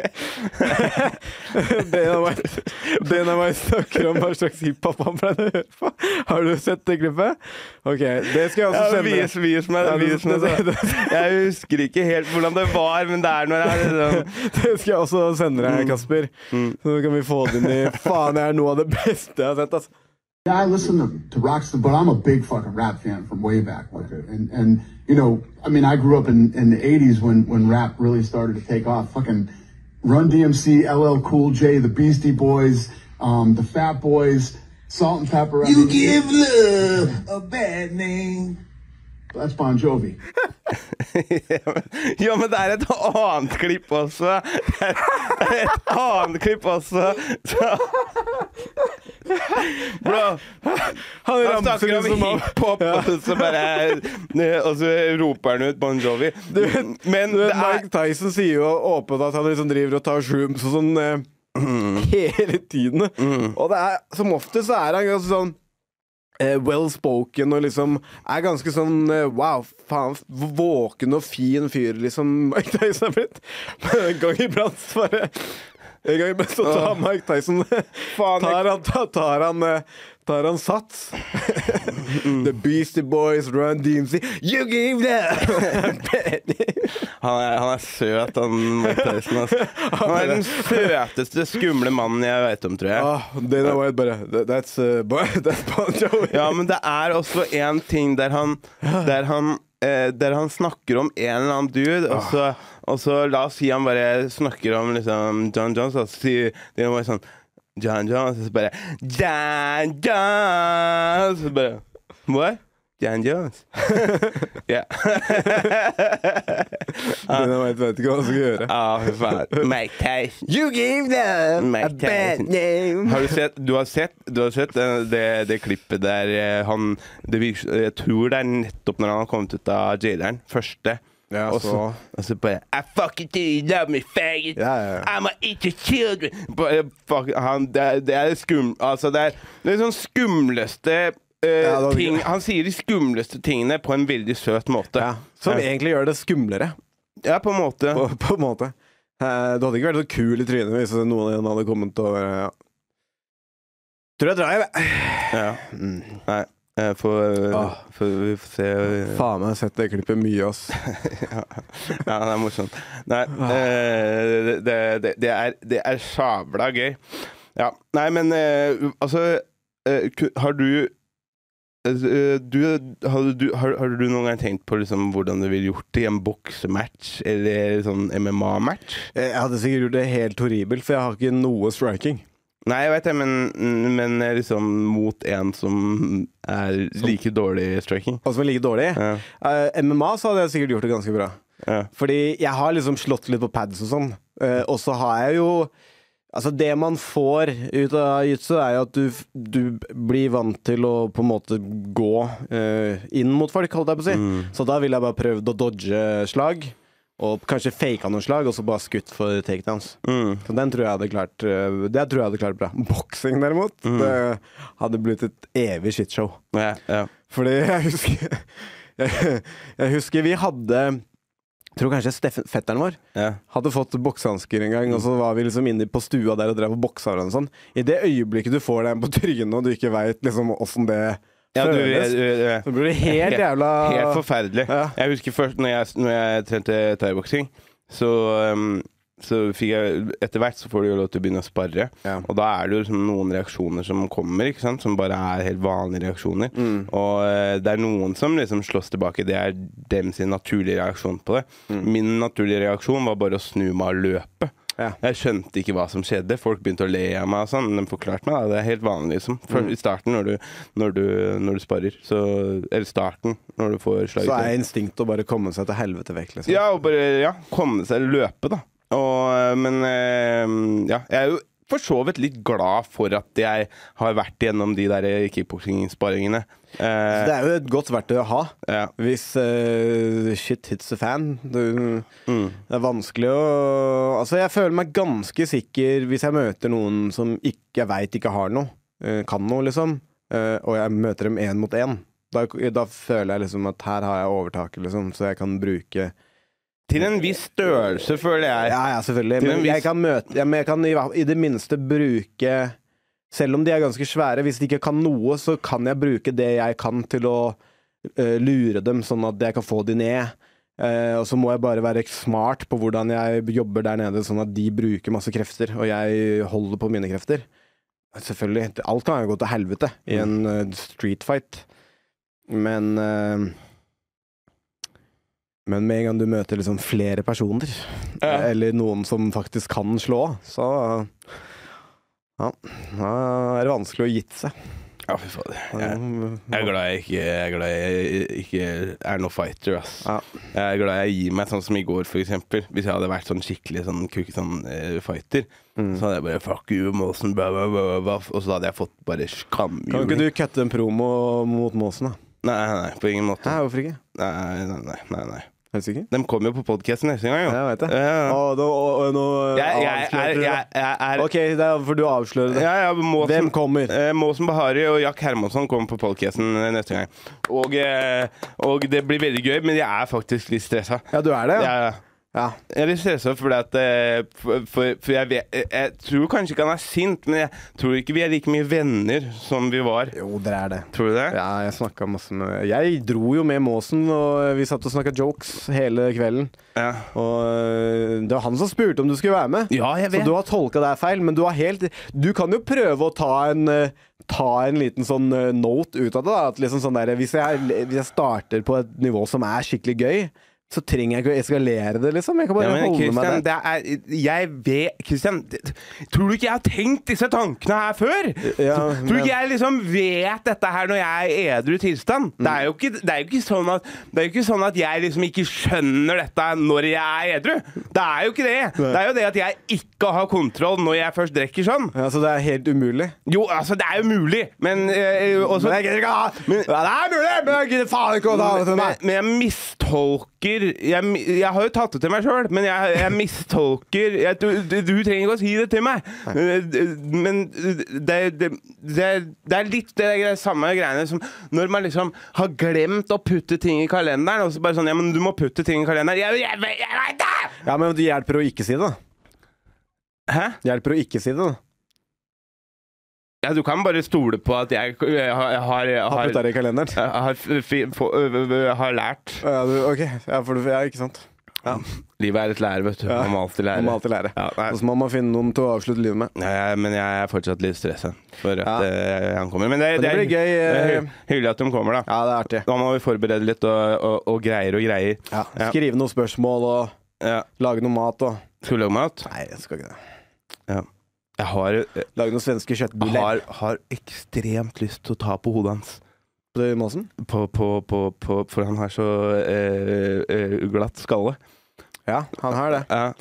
Dana White, Dana White snakker om hva slags hiphop han pleide å høre på. Har du sett det klippet? Ok, det skal Ja, jeg også sende. vis, vis meg, Ja, vis det- meg det- det. sånn. Jeg husker ikke helt hvordan det var, men det er når jeg er sånn Det skal jeg også sende deg, Kasper. Så kan vi få det inn i Faen, det er noe av det beste jeg har sett. Altså. Yeah, I listen to, to Rockstar, but I'm a big fucking rap fan from way back. And, and, you know, I mean, I grew up in, in the 80s when, when rap really started to take off. Fucking Run DMC, LL Cool J, the Beastie Boys, um, the Fat Boys, Salt and Pepper. I mean, love a bad name. That's Bon Jovi. Ja, men det er et annet klipp også. Det er et annet klipp også. Så. Bro, Han han ramser liksom snakker om ut som om hiphop, og så bare Og så roper han ut Bon Jovi. Men Du det vet, er Mike Tyson sier jo åpent at han liksom driver og tar shrooms og sånn eh, hele tiden. Mm. Og det er, som ofte så er han ganske sånn eh, well spoken og liksom er ganske sånn eh, wow, faen, v- våken og fin fyr, liksom Mike Tyson er blitt. Men en gang iblant så bare En gang iblant så Ah. tar Mike Tyson Tar han, tar, tar han eh, Tar han sats? Mm. The Beastie Boys, Run DMC You give them! Han er, han er søt, han Mike Tyson. Altså. Han er den søteste, skumle mannen jeg veit om, tror jeg. Ah, Dana White bare "That- That's, uh, Bon- that's Bon Jovi. Ja, men det er også en ting der han Der han eh, der han snakker om en eller annen dude, og så, og så la oss si han bare snakker om liksom John Jones, og så sier de noe sånn John Jones, og så bare John Jones! Så bare What? John Jones. Ja. Dana White vet ikke hva han skal gjøre. Ja, fy faen. Mike Tyson. You give them Mike Tyson. name. Har du sett, du har sett, du har sett eh, det, det klippet der eh, han det virker, Jeg tror det er nettopp når han har kommet ut av jaileren. Første. Ja, og, så, så- og så bare I fucking do you love me, faggot. Ja, ja, ja. I'm a eat your children. Bare, fuck, han, det, er- det er skum... Altså, det er det er sånn skumleste eh, Ja, det var- ting Han sier de skumleste tingene på en veldig søt måte. Ja, som ja. egentlig gjør det skumlere, på en måte. på, på en måte. Eh, Du hadde ikke vært så kul i trynet hvis noen av dem hadde kommet og eh, Tror jeg Mm, drar hjem, jeg. Ja. Nei. eh, Får Ah. får- vi får se eh, Faen meg, jeg har sett det klippet mye, ass. ja. ja, det er morsomt. Nei, eh, det, det, det, er, det er sabla gøy. Ja. Nei, men eh, altså eh, ku- Har du eh, du, har, du, har, har du noen gang tenkt på liksom hvordan du ville gjort det i en boksematch eller sånn MMA-match? Jeg hadde sikkert gjort det helt horribelt, for jeg har ikke noe striking. Nei, jeg veit det, men, men liksom mot en som er like dårlig i striking. Og som er like dårlig. Ja. Eh, MMA så hadde jeg sikkert gjort det ganske bra. Ja. Fordi jeg har liksom slått litt på pads og sånn. Eh, og så har jeg jo Altså, det man får ut av jiu-jitsu, er jo at du, f- du blir vant til å på en måte gå eh, inn mot folk, holdt jeg på å si. Mm. Så da ville jeg bare prøvd å dodge slag, og kanskje faka noen slag, og så bare skutt for takedowns. Mm. Så den tror jeg hadde klart eh, Det tror jeg hadde klart bra. Boksing, derimot, Mm. det hadde blitt et evig shitshow. Ja, ja. Fordi jeg husker jeg, jeg husker vi hadde Jeg tror kanskje Steffen, fetteren vår Ja. hadde fått boksehansker en gang, og så var vi liksom inne på stua der og drev og boksa hverandre og sånn. I det øyeblikket du får den på trynet, og du ikke veit liksom åssen det Ja, du, føles, du, du, så blir det helt jævla Helt forferdelig. Ja. Jeg husker først når jeg, når jeg trente thaiboksing, så, um, så fikk jeg Etter hvert så får du jo lov til å begynne å sparre, Ja. og da er det jo liksom noen reaksjoner som kommer, ikke sant? som bare er helt vanlige reaksjoner. Mm. Og eh, det er noen som liksom slåss tilbake. Det er dem sin naturlige reaksjon på det. Mm. Min naturlige reaksjon var bare å snu meg og løpe. Ja. Jeg skjønte ikke hva som skjedde. Folk begynte å le av meg. og sånn men De forklarte meg da. Det er helt vanlig liksom. Før- Mm. i starten når du, når du, når du sparrer. Så, eller starten når du får slag. Så er instinktet å bare komme seg til helvete vekk, liksom. Ja, og bare ja, komme seg løpe, da. Og, men eh, ja, jeg er jo for så vidt litt glad for at jeg har vært gjennom de der kickboksingsparingene. Så Eh, Det er jo et godt verktøy å ha ja. hvis eh, shit hits the fan. Du, Det er vanskelig å Altså, jeg føler meg ganske sikker hvis jeg møter noen som ikke, jeg veit ikke har noe, eh, kan noe, liksom, eh, og jeg møter dem én mot én. Da, da føler jeg liksom at her har jeg overtaket, liksom, så jeg kan bruke Til en viss størrelse, føler jeg. Ja, ja, selvfølgelig. Til en Men viss- jeg kan, møte, ja, men jeg kan i, hva- i det minste bruke Selv om de er ganske svære, hvis de ikke kan noe, så kan jeg bruke det jeg kan til å eh, lure dem, sånn at jeg kan få de ned. Eh, og så må jeg bare være smart på hvordan jeg jobber der nede, sånn at de bruker masse krefter, og jeg holder på mine krefter. Selvfølgelig. Alt kan jo gå til helvete i Mm. en eh, street fight. Men eh, Men med en gang du møter liksom flere personer, Ja. eller noen som faktisk kan slå, så ja, da er det vanskelig å gi seg. Ja, fy fader. Jeg, jeg er glad jeg ikke, jeg er, glad jeg ikke er noen fighter, ass. Ja. Jeg er glad jeg gir meg sånn som i går, for eksempel. Hvis jeg hadde vært sånn skikkelig sånn, kuk, sånn eh, fighter, Mm. så hadde jeg bare Fuck you, Molson, blah, blah, blah, blah, blah. Og så hadde jeg fått bare Kan skamjuling. ikke du cutte en promo mot Måsen, da? Nei, nei, nei, på ingen måte. Hæ, hvorfor ikke? Nei, nei, nei, nei, nei. Er du sikker? De kommer jo på podkasten neste gang, jo. Ja, jeg vet det. Ja, ja. Å, nå, å, nå Jeg, jeg, avslørte er, du det. jeg, jeg er OK, det er for du avslører det. Ja, ja, Måsen, Hvem kommer? Eh, Måsen Bahari og Jack Hermansson kommer på podcasten eh, neste gang. Og, eh, og det blir veldig gøy, men jeg er faktisk litt stressa. Ja, du er det? Ja. Jeg, ja. jeg er litt stressa fordi at eh, For, for, for jeg, vet, jeg- jeg tror kanskje ikke han er sint, men jeg tror ikke vi er like mye venner som vi var. Jo, dere er det. Tror du det? Ja, jeg snakka masse med Jeg dro jo med Måsen, og vi satt og snakka jokes hele kvelden. Ja. Og øh, det var han som spurte om du skulle være med. Ja, jeg Så vet. du har tolka deg feil, men du har helt Du kan jo prøve å ta en øh, Ta en liten sånn øh, note ut av det. Da. At liksom sånn der, hvis, jeg, hvis jeg starter på et nivå som er skikkelig gøy, så trenger jeg ikke å eskalere det, liksom. Jeg kan Ja, bare men holde Christian, meg der. det er, jeg vet Christian, det- tror du ikke jeg har tenkt disse tankene her før? Ja, tror du men- ikke jeg liksom vet dette her når jeg er i edru tilstand? Det, Mm. er jo ikke, det er jo ikke sånn at Det er jo ikke sånn at jeg liksom ikke skjønner dette når jeg er edru. Det er jo ikke det. Det er jo det at jeg ikke har kontroll når jeg først drikker sånn. Ja, så det er helt umulig. Jo, altså, det er jo mulig, men eh, også, Men jeg gidder ikke å ha Men- Ja, Det er mulig, men jeg gidder faen ikke å ta det til Mm, men, meg! men jeg mistolker jeg, mi- jeg har jo tatt det til meg sjøl, men jeg, jeg mistolker jeg, du, du, du trenger ikke å si det til meg. Men det, det, det, det er litt det der samme greiene som når man liksom har glemt å putte ting i kalenderen, og så bare sånn Ja, men du må putte ting i kalenderen. Jeg, jeg, jeg, jeg veit det! Ja, men det hjelper å ikke si det, da. Hæ? Hjelper å ikke si det, da. Ja, du kan bare stole på at jeg, jeg har, jeg har, jeg Har har, putta det i kalenderen. jeg har, fi- få- ø- ø- ø- har lært. Ja, du, ok. Ja, for du, ja, ikke sant. Livet er et lærer, vet du. Ja. Man må alltid Man lære. må alltid lære. Ja, nei. Og så må man finne noen til å avslutte livet med. Ja, jeg- men jeg er fortsatt litt stressa for at Ja. eh, han kommer. Men det, Men det er- blir gøy, det eh, er hy- hyggelig at de kommer, da. Ja, det er artig. Da må vi forberede litt og, og, og greier og greier. Ja. Ja. Skrive noen spørsmål og Ja. lage noe mat og Skal vi lage mat? Nei, jeg skal ikke det. Ja. Jeg har, jeg Lage noen svenske kjøttbuller. har, har ekstremt lyst til å ta på hodet hans. Du, Måsen? På, på, på, på, for han har så eh, eh, glatt skalle. Ja, han har det. Ja.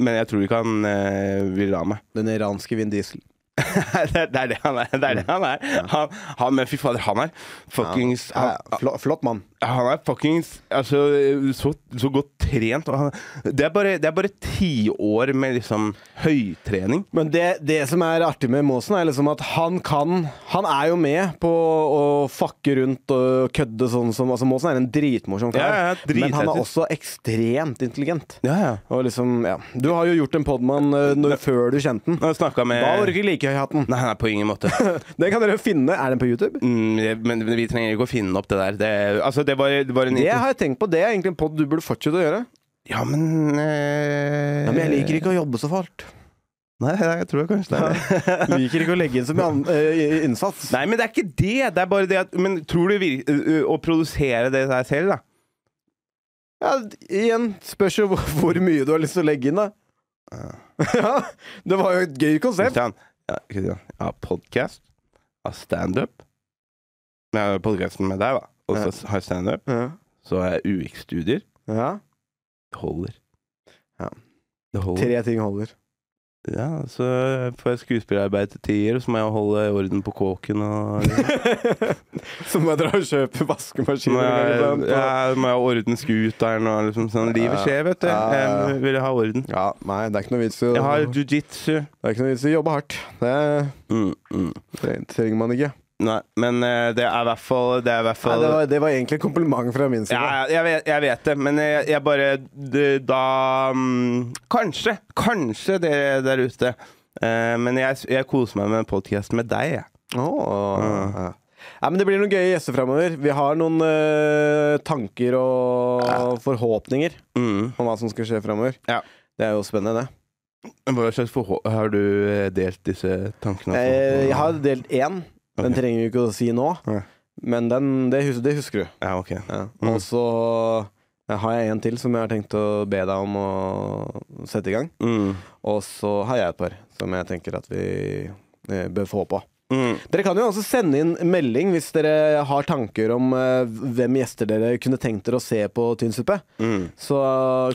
Men jeg tror ikke han eh, vil la meg. Den iranske Vin Diesel. det, er- det er det han er. Det er det han er. Han, han, men fy fader, han er fuckings Ja, han, ja, flott, flott mann. han er fuckings altså, så, så godt trent. Og han, det er bare, det er bare tiår med liksom høytrening. Men det, det som er artig med Måsen, er liksom at han kan Han er jo med på å fucke rundt og kødde sånn som altså Måsen er en dritmorsom kar, Ja, ja, dritheter. men han er også ekstremt intelligent. Ja, ja. Og liksom, ja. Du har jo gjort en podman eh, når, før du kjente den. Nå snakka med Da var du ikke like høy i hatten. Nei, nei, på ingen måte. Den kan dere finne. Er den på YouTube? Mm, jeg- men men vi trenger ikke å finne opp det der. Det, altså, det var, det var en Det har jeg tenkt på. Det er egentlig en pod du burde fortsette å gjøre. Ja, men eh, Ja, men jeg liker ikke å jobbe så fælt. Nei, nei, jeg tror kanskje det er det. Liker ikke å legge inn så mye an eh, innsats. Nei, men det er ikke det. Det er bare det at Men tror du vir ø, ø, å produsere det der selv, da? Ja, igjen, spørs jo hvor, hvor mye du har lyst til å legge inn, da. Ja, det var jo et gøy konsept. Kristian, ja, Kristian, jeg har podkast, jeg har standup Men Jeg har podkasten med deg, da. Og så har jeg standup. Ja. Så har jeg UX-studier. ja. Det holder. Ja. Det holder. Tre ting holder. Ja, så får jeg skuespillerarbeid til tier, og så må jeg holde orden på kåken og liksom, Så må jeg dra og kjøpe må vaskemaskiner. jeg, eller noe sånt. ja, må jeg ha orden scooteren og liksom sånn. Livet skjer, vet du. Ja, ja, ja. Jeg vil ha orden. ja, nei, det er ikke noe vits i å Jeg har jiu-jitsu. Det er ikke noe vits i å jobbe hardt. Det, Mm, mm. det trenger man ikke. Nei, men eh, det er i hvert fall Det er i hvert Nei, fall det, var, det var egentlig en kompliment fra min ja, side. ja, jeg, vet, jeg vet det, men jeg, jeg bare det- Da mm, Kanskje, kanskje dere der ute. Eh, men jeg, jeg koser meg med podkasten med deg, jeg. Åh, ja. Nei, men Det blir noen gøye gjester framover. Vi har noen eh, tanker og forhåpninger Mm. om hva som skal skje framover. Ja. Det er jo spennende, det. Hva slags forhold har du eh, delt disse tankene? på? Eh, jeg har delt én. Den Ok. trenger vi ikke å si nå, Nei. men den, det, hus det husker du. Ja, ok. Mm. Og så eh, har jeg en til som jeg har tenkt å be deg om å sette i gang. Mm. Og så har jeg et par som jeg tenker at vi eh, bør få på. Mm. Dere kan jo også sende inn melding hvis dere har tanker om eh, hvem gjester dere kunne tenkt dere å se på Tynnsuppe. Mm. Så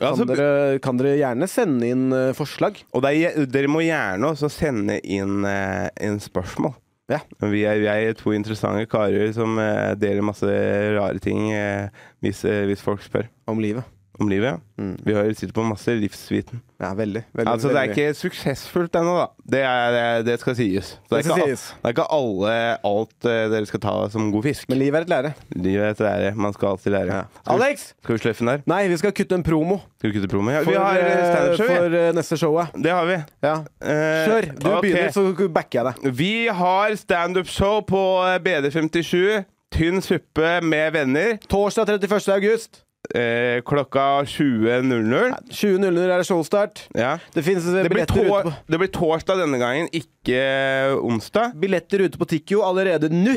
kan, Ja, så- dere, kan dere gjerne sende inn eh, forslag. Og det er, dere må gjerne også sende inn, eh, inn spørsmål. Ja. Vi er, vi er to interessante karer som eh, deler masse rare ting eh, hvis, eh, hvis folk spør Om livet. om livet. Ja. Mm. Vi har sitter på masse livsviten. Ja, veldig. veldig altså, det er veldig. ikke suksessfullt ennå, da. Det, er, det, det skal sies. Så Det er skal ikke al- sies. det er ikke alle alt eh, dere skal ta som god fisk. Men livet er et lære. Livet er et lære. Man skal alltid lære. Skal, vi, Alex! skal vi sløffe den der? Nei, vi skal kutte en promo Skal vi kutte promo? Ja, for, vi har eh, eh, standup-show, vi. for eh, neste showet. Det har vi. Ja. Eh, Kjør! Du ok. begynner, så backer jeg deg. Vi har standup-show på eh, BD57. Tynn suppe med venner. Torsdag 31. august. Eh, klokka 20.00. 20.00 er det showstart. Ja. Det finnes eh, Det blir, billetter tor- ute på det blir torsdag denne gangen, ikke eh, onsdag. billetter ute på Tikkio allerede nå.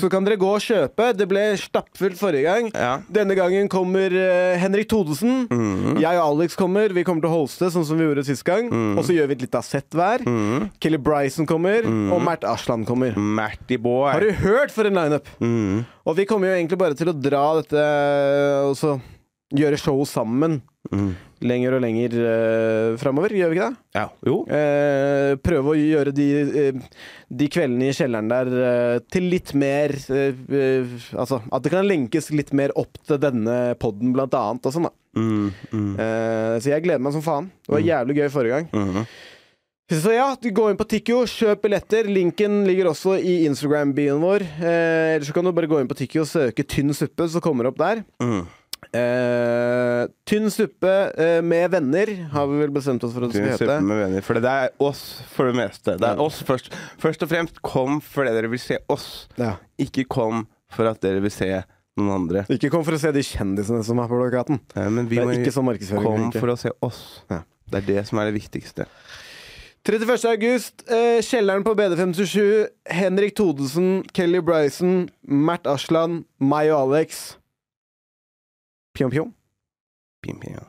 Så kan dere gå og kjøpe. Det ble stappfullt forrige gang. Ja. Denne gangen kommer eh, Henrik Thodesen. Jeg og Alex kommer. Vi kommer til å hoste, sånn som vi gjorde sist gang. Og så gjør vi et lite sett hver. Kelly Bryson kommer, og Mert Aslan kommer. Matty boy. Har du hørt for en lineup? Mm. Og vi kommer jo egentlig bare til å dra dette eh, og så gjøre show sammen. Lenger og lenger uh, framover, gjør vi ikke det? Ja. Jo. Eh, prøve å gjøre de, eh, de kveldene i kjelleren der eh, til litt mer eh, eh, Altså at det kan lenkes litt mer opp til denne poden, blant annet. Og sånn, da. Mm. Mm. Eh, så jeg gleder meg som faen. Det var jævlig gøy forrige gang. Mhm. Så ja, du gå inn på Tikkio, kjøp billetter. Linken ligger også i Instagram-bioen vår. Eh, Eller så kan du bare gå inn på Tikkio og søke 'Tynn suppe', så kommer det opp der. Mm. Eh, tynn suppe eh, med venner har vi vel bestemt oss for at det Tynn skal suppe hete. Mm. med venner. For det er oss for det meste. Det er oss først. Først og fremst kom fordi dere vil se oss. Ja. Ikke kom for at dere vil se noen andre. Ikke kom for å se de kjendisene som er på plakaten. Eh, Men vi Det må er ikke sånn markedsføring kom funker. for å se oss. Ja. Det er det som er det viktigste. 31. august, eh, kjelleren på BD57. Henrik Thodesen, Kelly Bryson, Mert Aslan, meg og Alex. Pjom, pjom. Pim, pim, ja.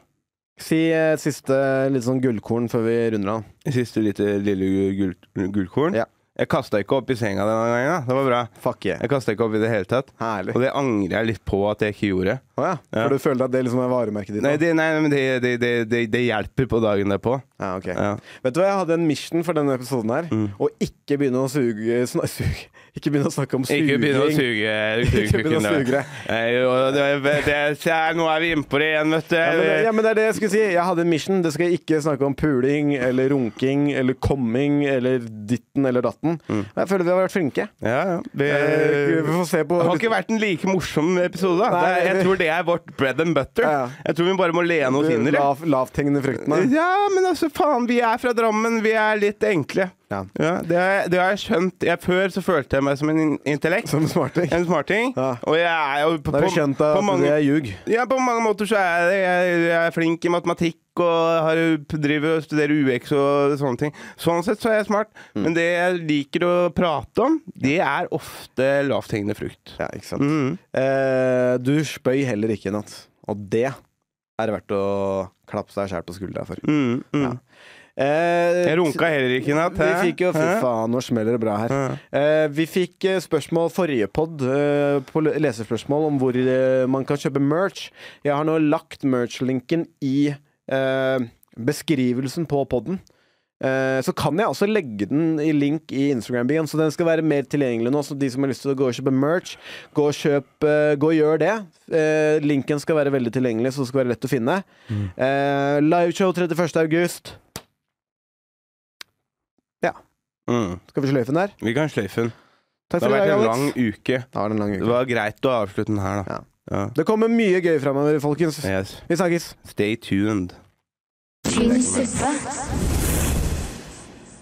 Si eh, et siste litt sånn gullkorn før vi runder av. Siste lite lille gull, gullkorn. Ja. Jeg kasta ikke opp i senga denne gangen. da. Det var bra. Fuck yeah. Jeg kasta ikke opp i det hele tatt. Herlig. Og det angrer jeg litt på at jeg ikke gjorde. Å ja. Ja. For du føler at det liksom er varemerket ditt? Nei, nå? det, nei men det, det, det, det, det hjelper på dagen derpå. Ja, ok. Ja. Mm. Vet du hva, jeg hadde en mission for denne episoden her. Å ikke begynne å suge, sna, suge Ikke begynne å snakke om suging. Ikke begynne å suge Ikke begynne å suge deg. deg. Nå er vi inne på det igjen, vet du. Ja men, det, ja, men det er det jeg skulle si. Jeg hadde en mission. Det skal ikke snakke om puling eller runking eller komming eller ditten eller datten. Jeg føler vi har vært flinke. Mm. Ja, ja. Det, Eh, vi får se på det har ikke vært en like morsom episode. Da. Nei, det, er- vi- jeg tror det er vårt bread and butter. Ja. Jeg tror vi bare må lene oss inn i det. lav, Lavthengende fruktene. Ja, men altså, faen. Vi er fra Drammen. Vi er litt enkle. Ja. det, har jeg- det har jeg skjønt. Jeg, før så følte jeg meg som en in- intellekt. Som smarting. en smarting. Ja. Og jeg er jo på, Da har du skjønt at på mange, det er ljug. Ja, på mange måter så er jeg, det. jeg, jeg er flink i matematikk og har, driver og studerer UX og sånne ting. Sånn sett så er jeg smart, Mm. men det jeg liker å prate om, det er ofte lavthengende frukt. Mm, Ja, ikke sant. Eh, du spøy heller ikke i natt. Og det er det verdt å klappe seg sjæl på skuldra for. Mm, mm. Ja. Eh, Jeg runka heller ikke i natt. Vi hæ? fikk jo Fy Hæ? faen, nå smeller det bra her. Hæ? Eh, vi fikk eh, spørsmål forrige pod eh, på le- lesespørsmål om hvor eh, man kan kjøpe merch. Jeg har nå lagt merch-linken i eh, beskrivelsen på poden. Eh, så kan jeg også legge den i link i Instagram-byen, så den skal være mer tilgjengelig nå. Så de som har lyst til å gå og kjøpe merch, gå og, kjøp, eh, gå og gjør det. Eh, linken skal være veldig tilgjengelig, så det skal være lett å finne. Eh, liveshow 31. august. Mm. Skal vi sløyfe den der? Vi kan sløyfe den. Det Takk har for i vært dag, en Alex. lang uke. Da var det en lang Det uke. var greit å avslutte den her, da. Det kommer mye gøy framover, folkens. Yes. Vi snakkes. Stay tuned. Tynn suppe.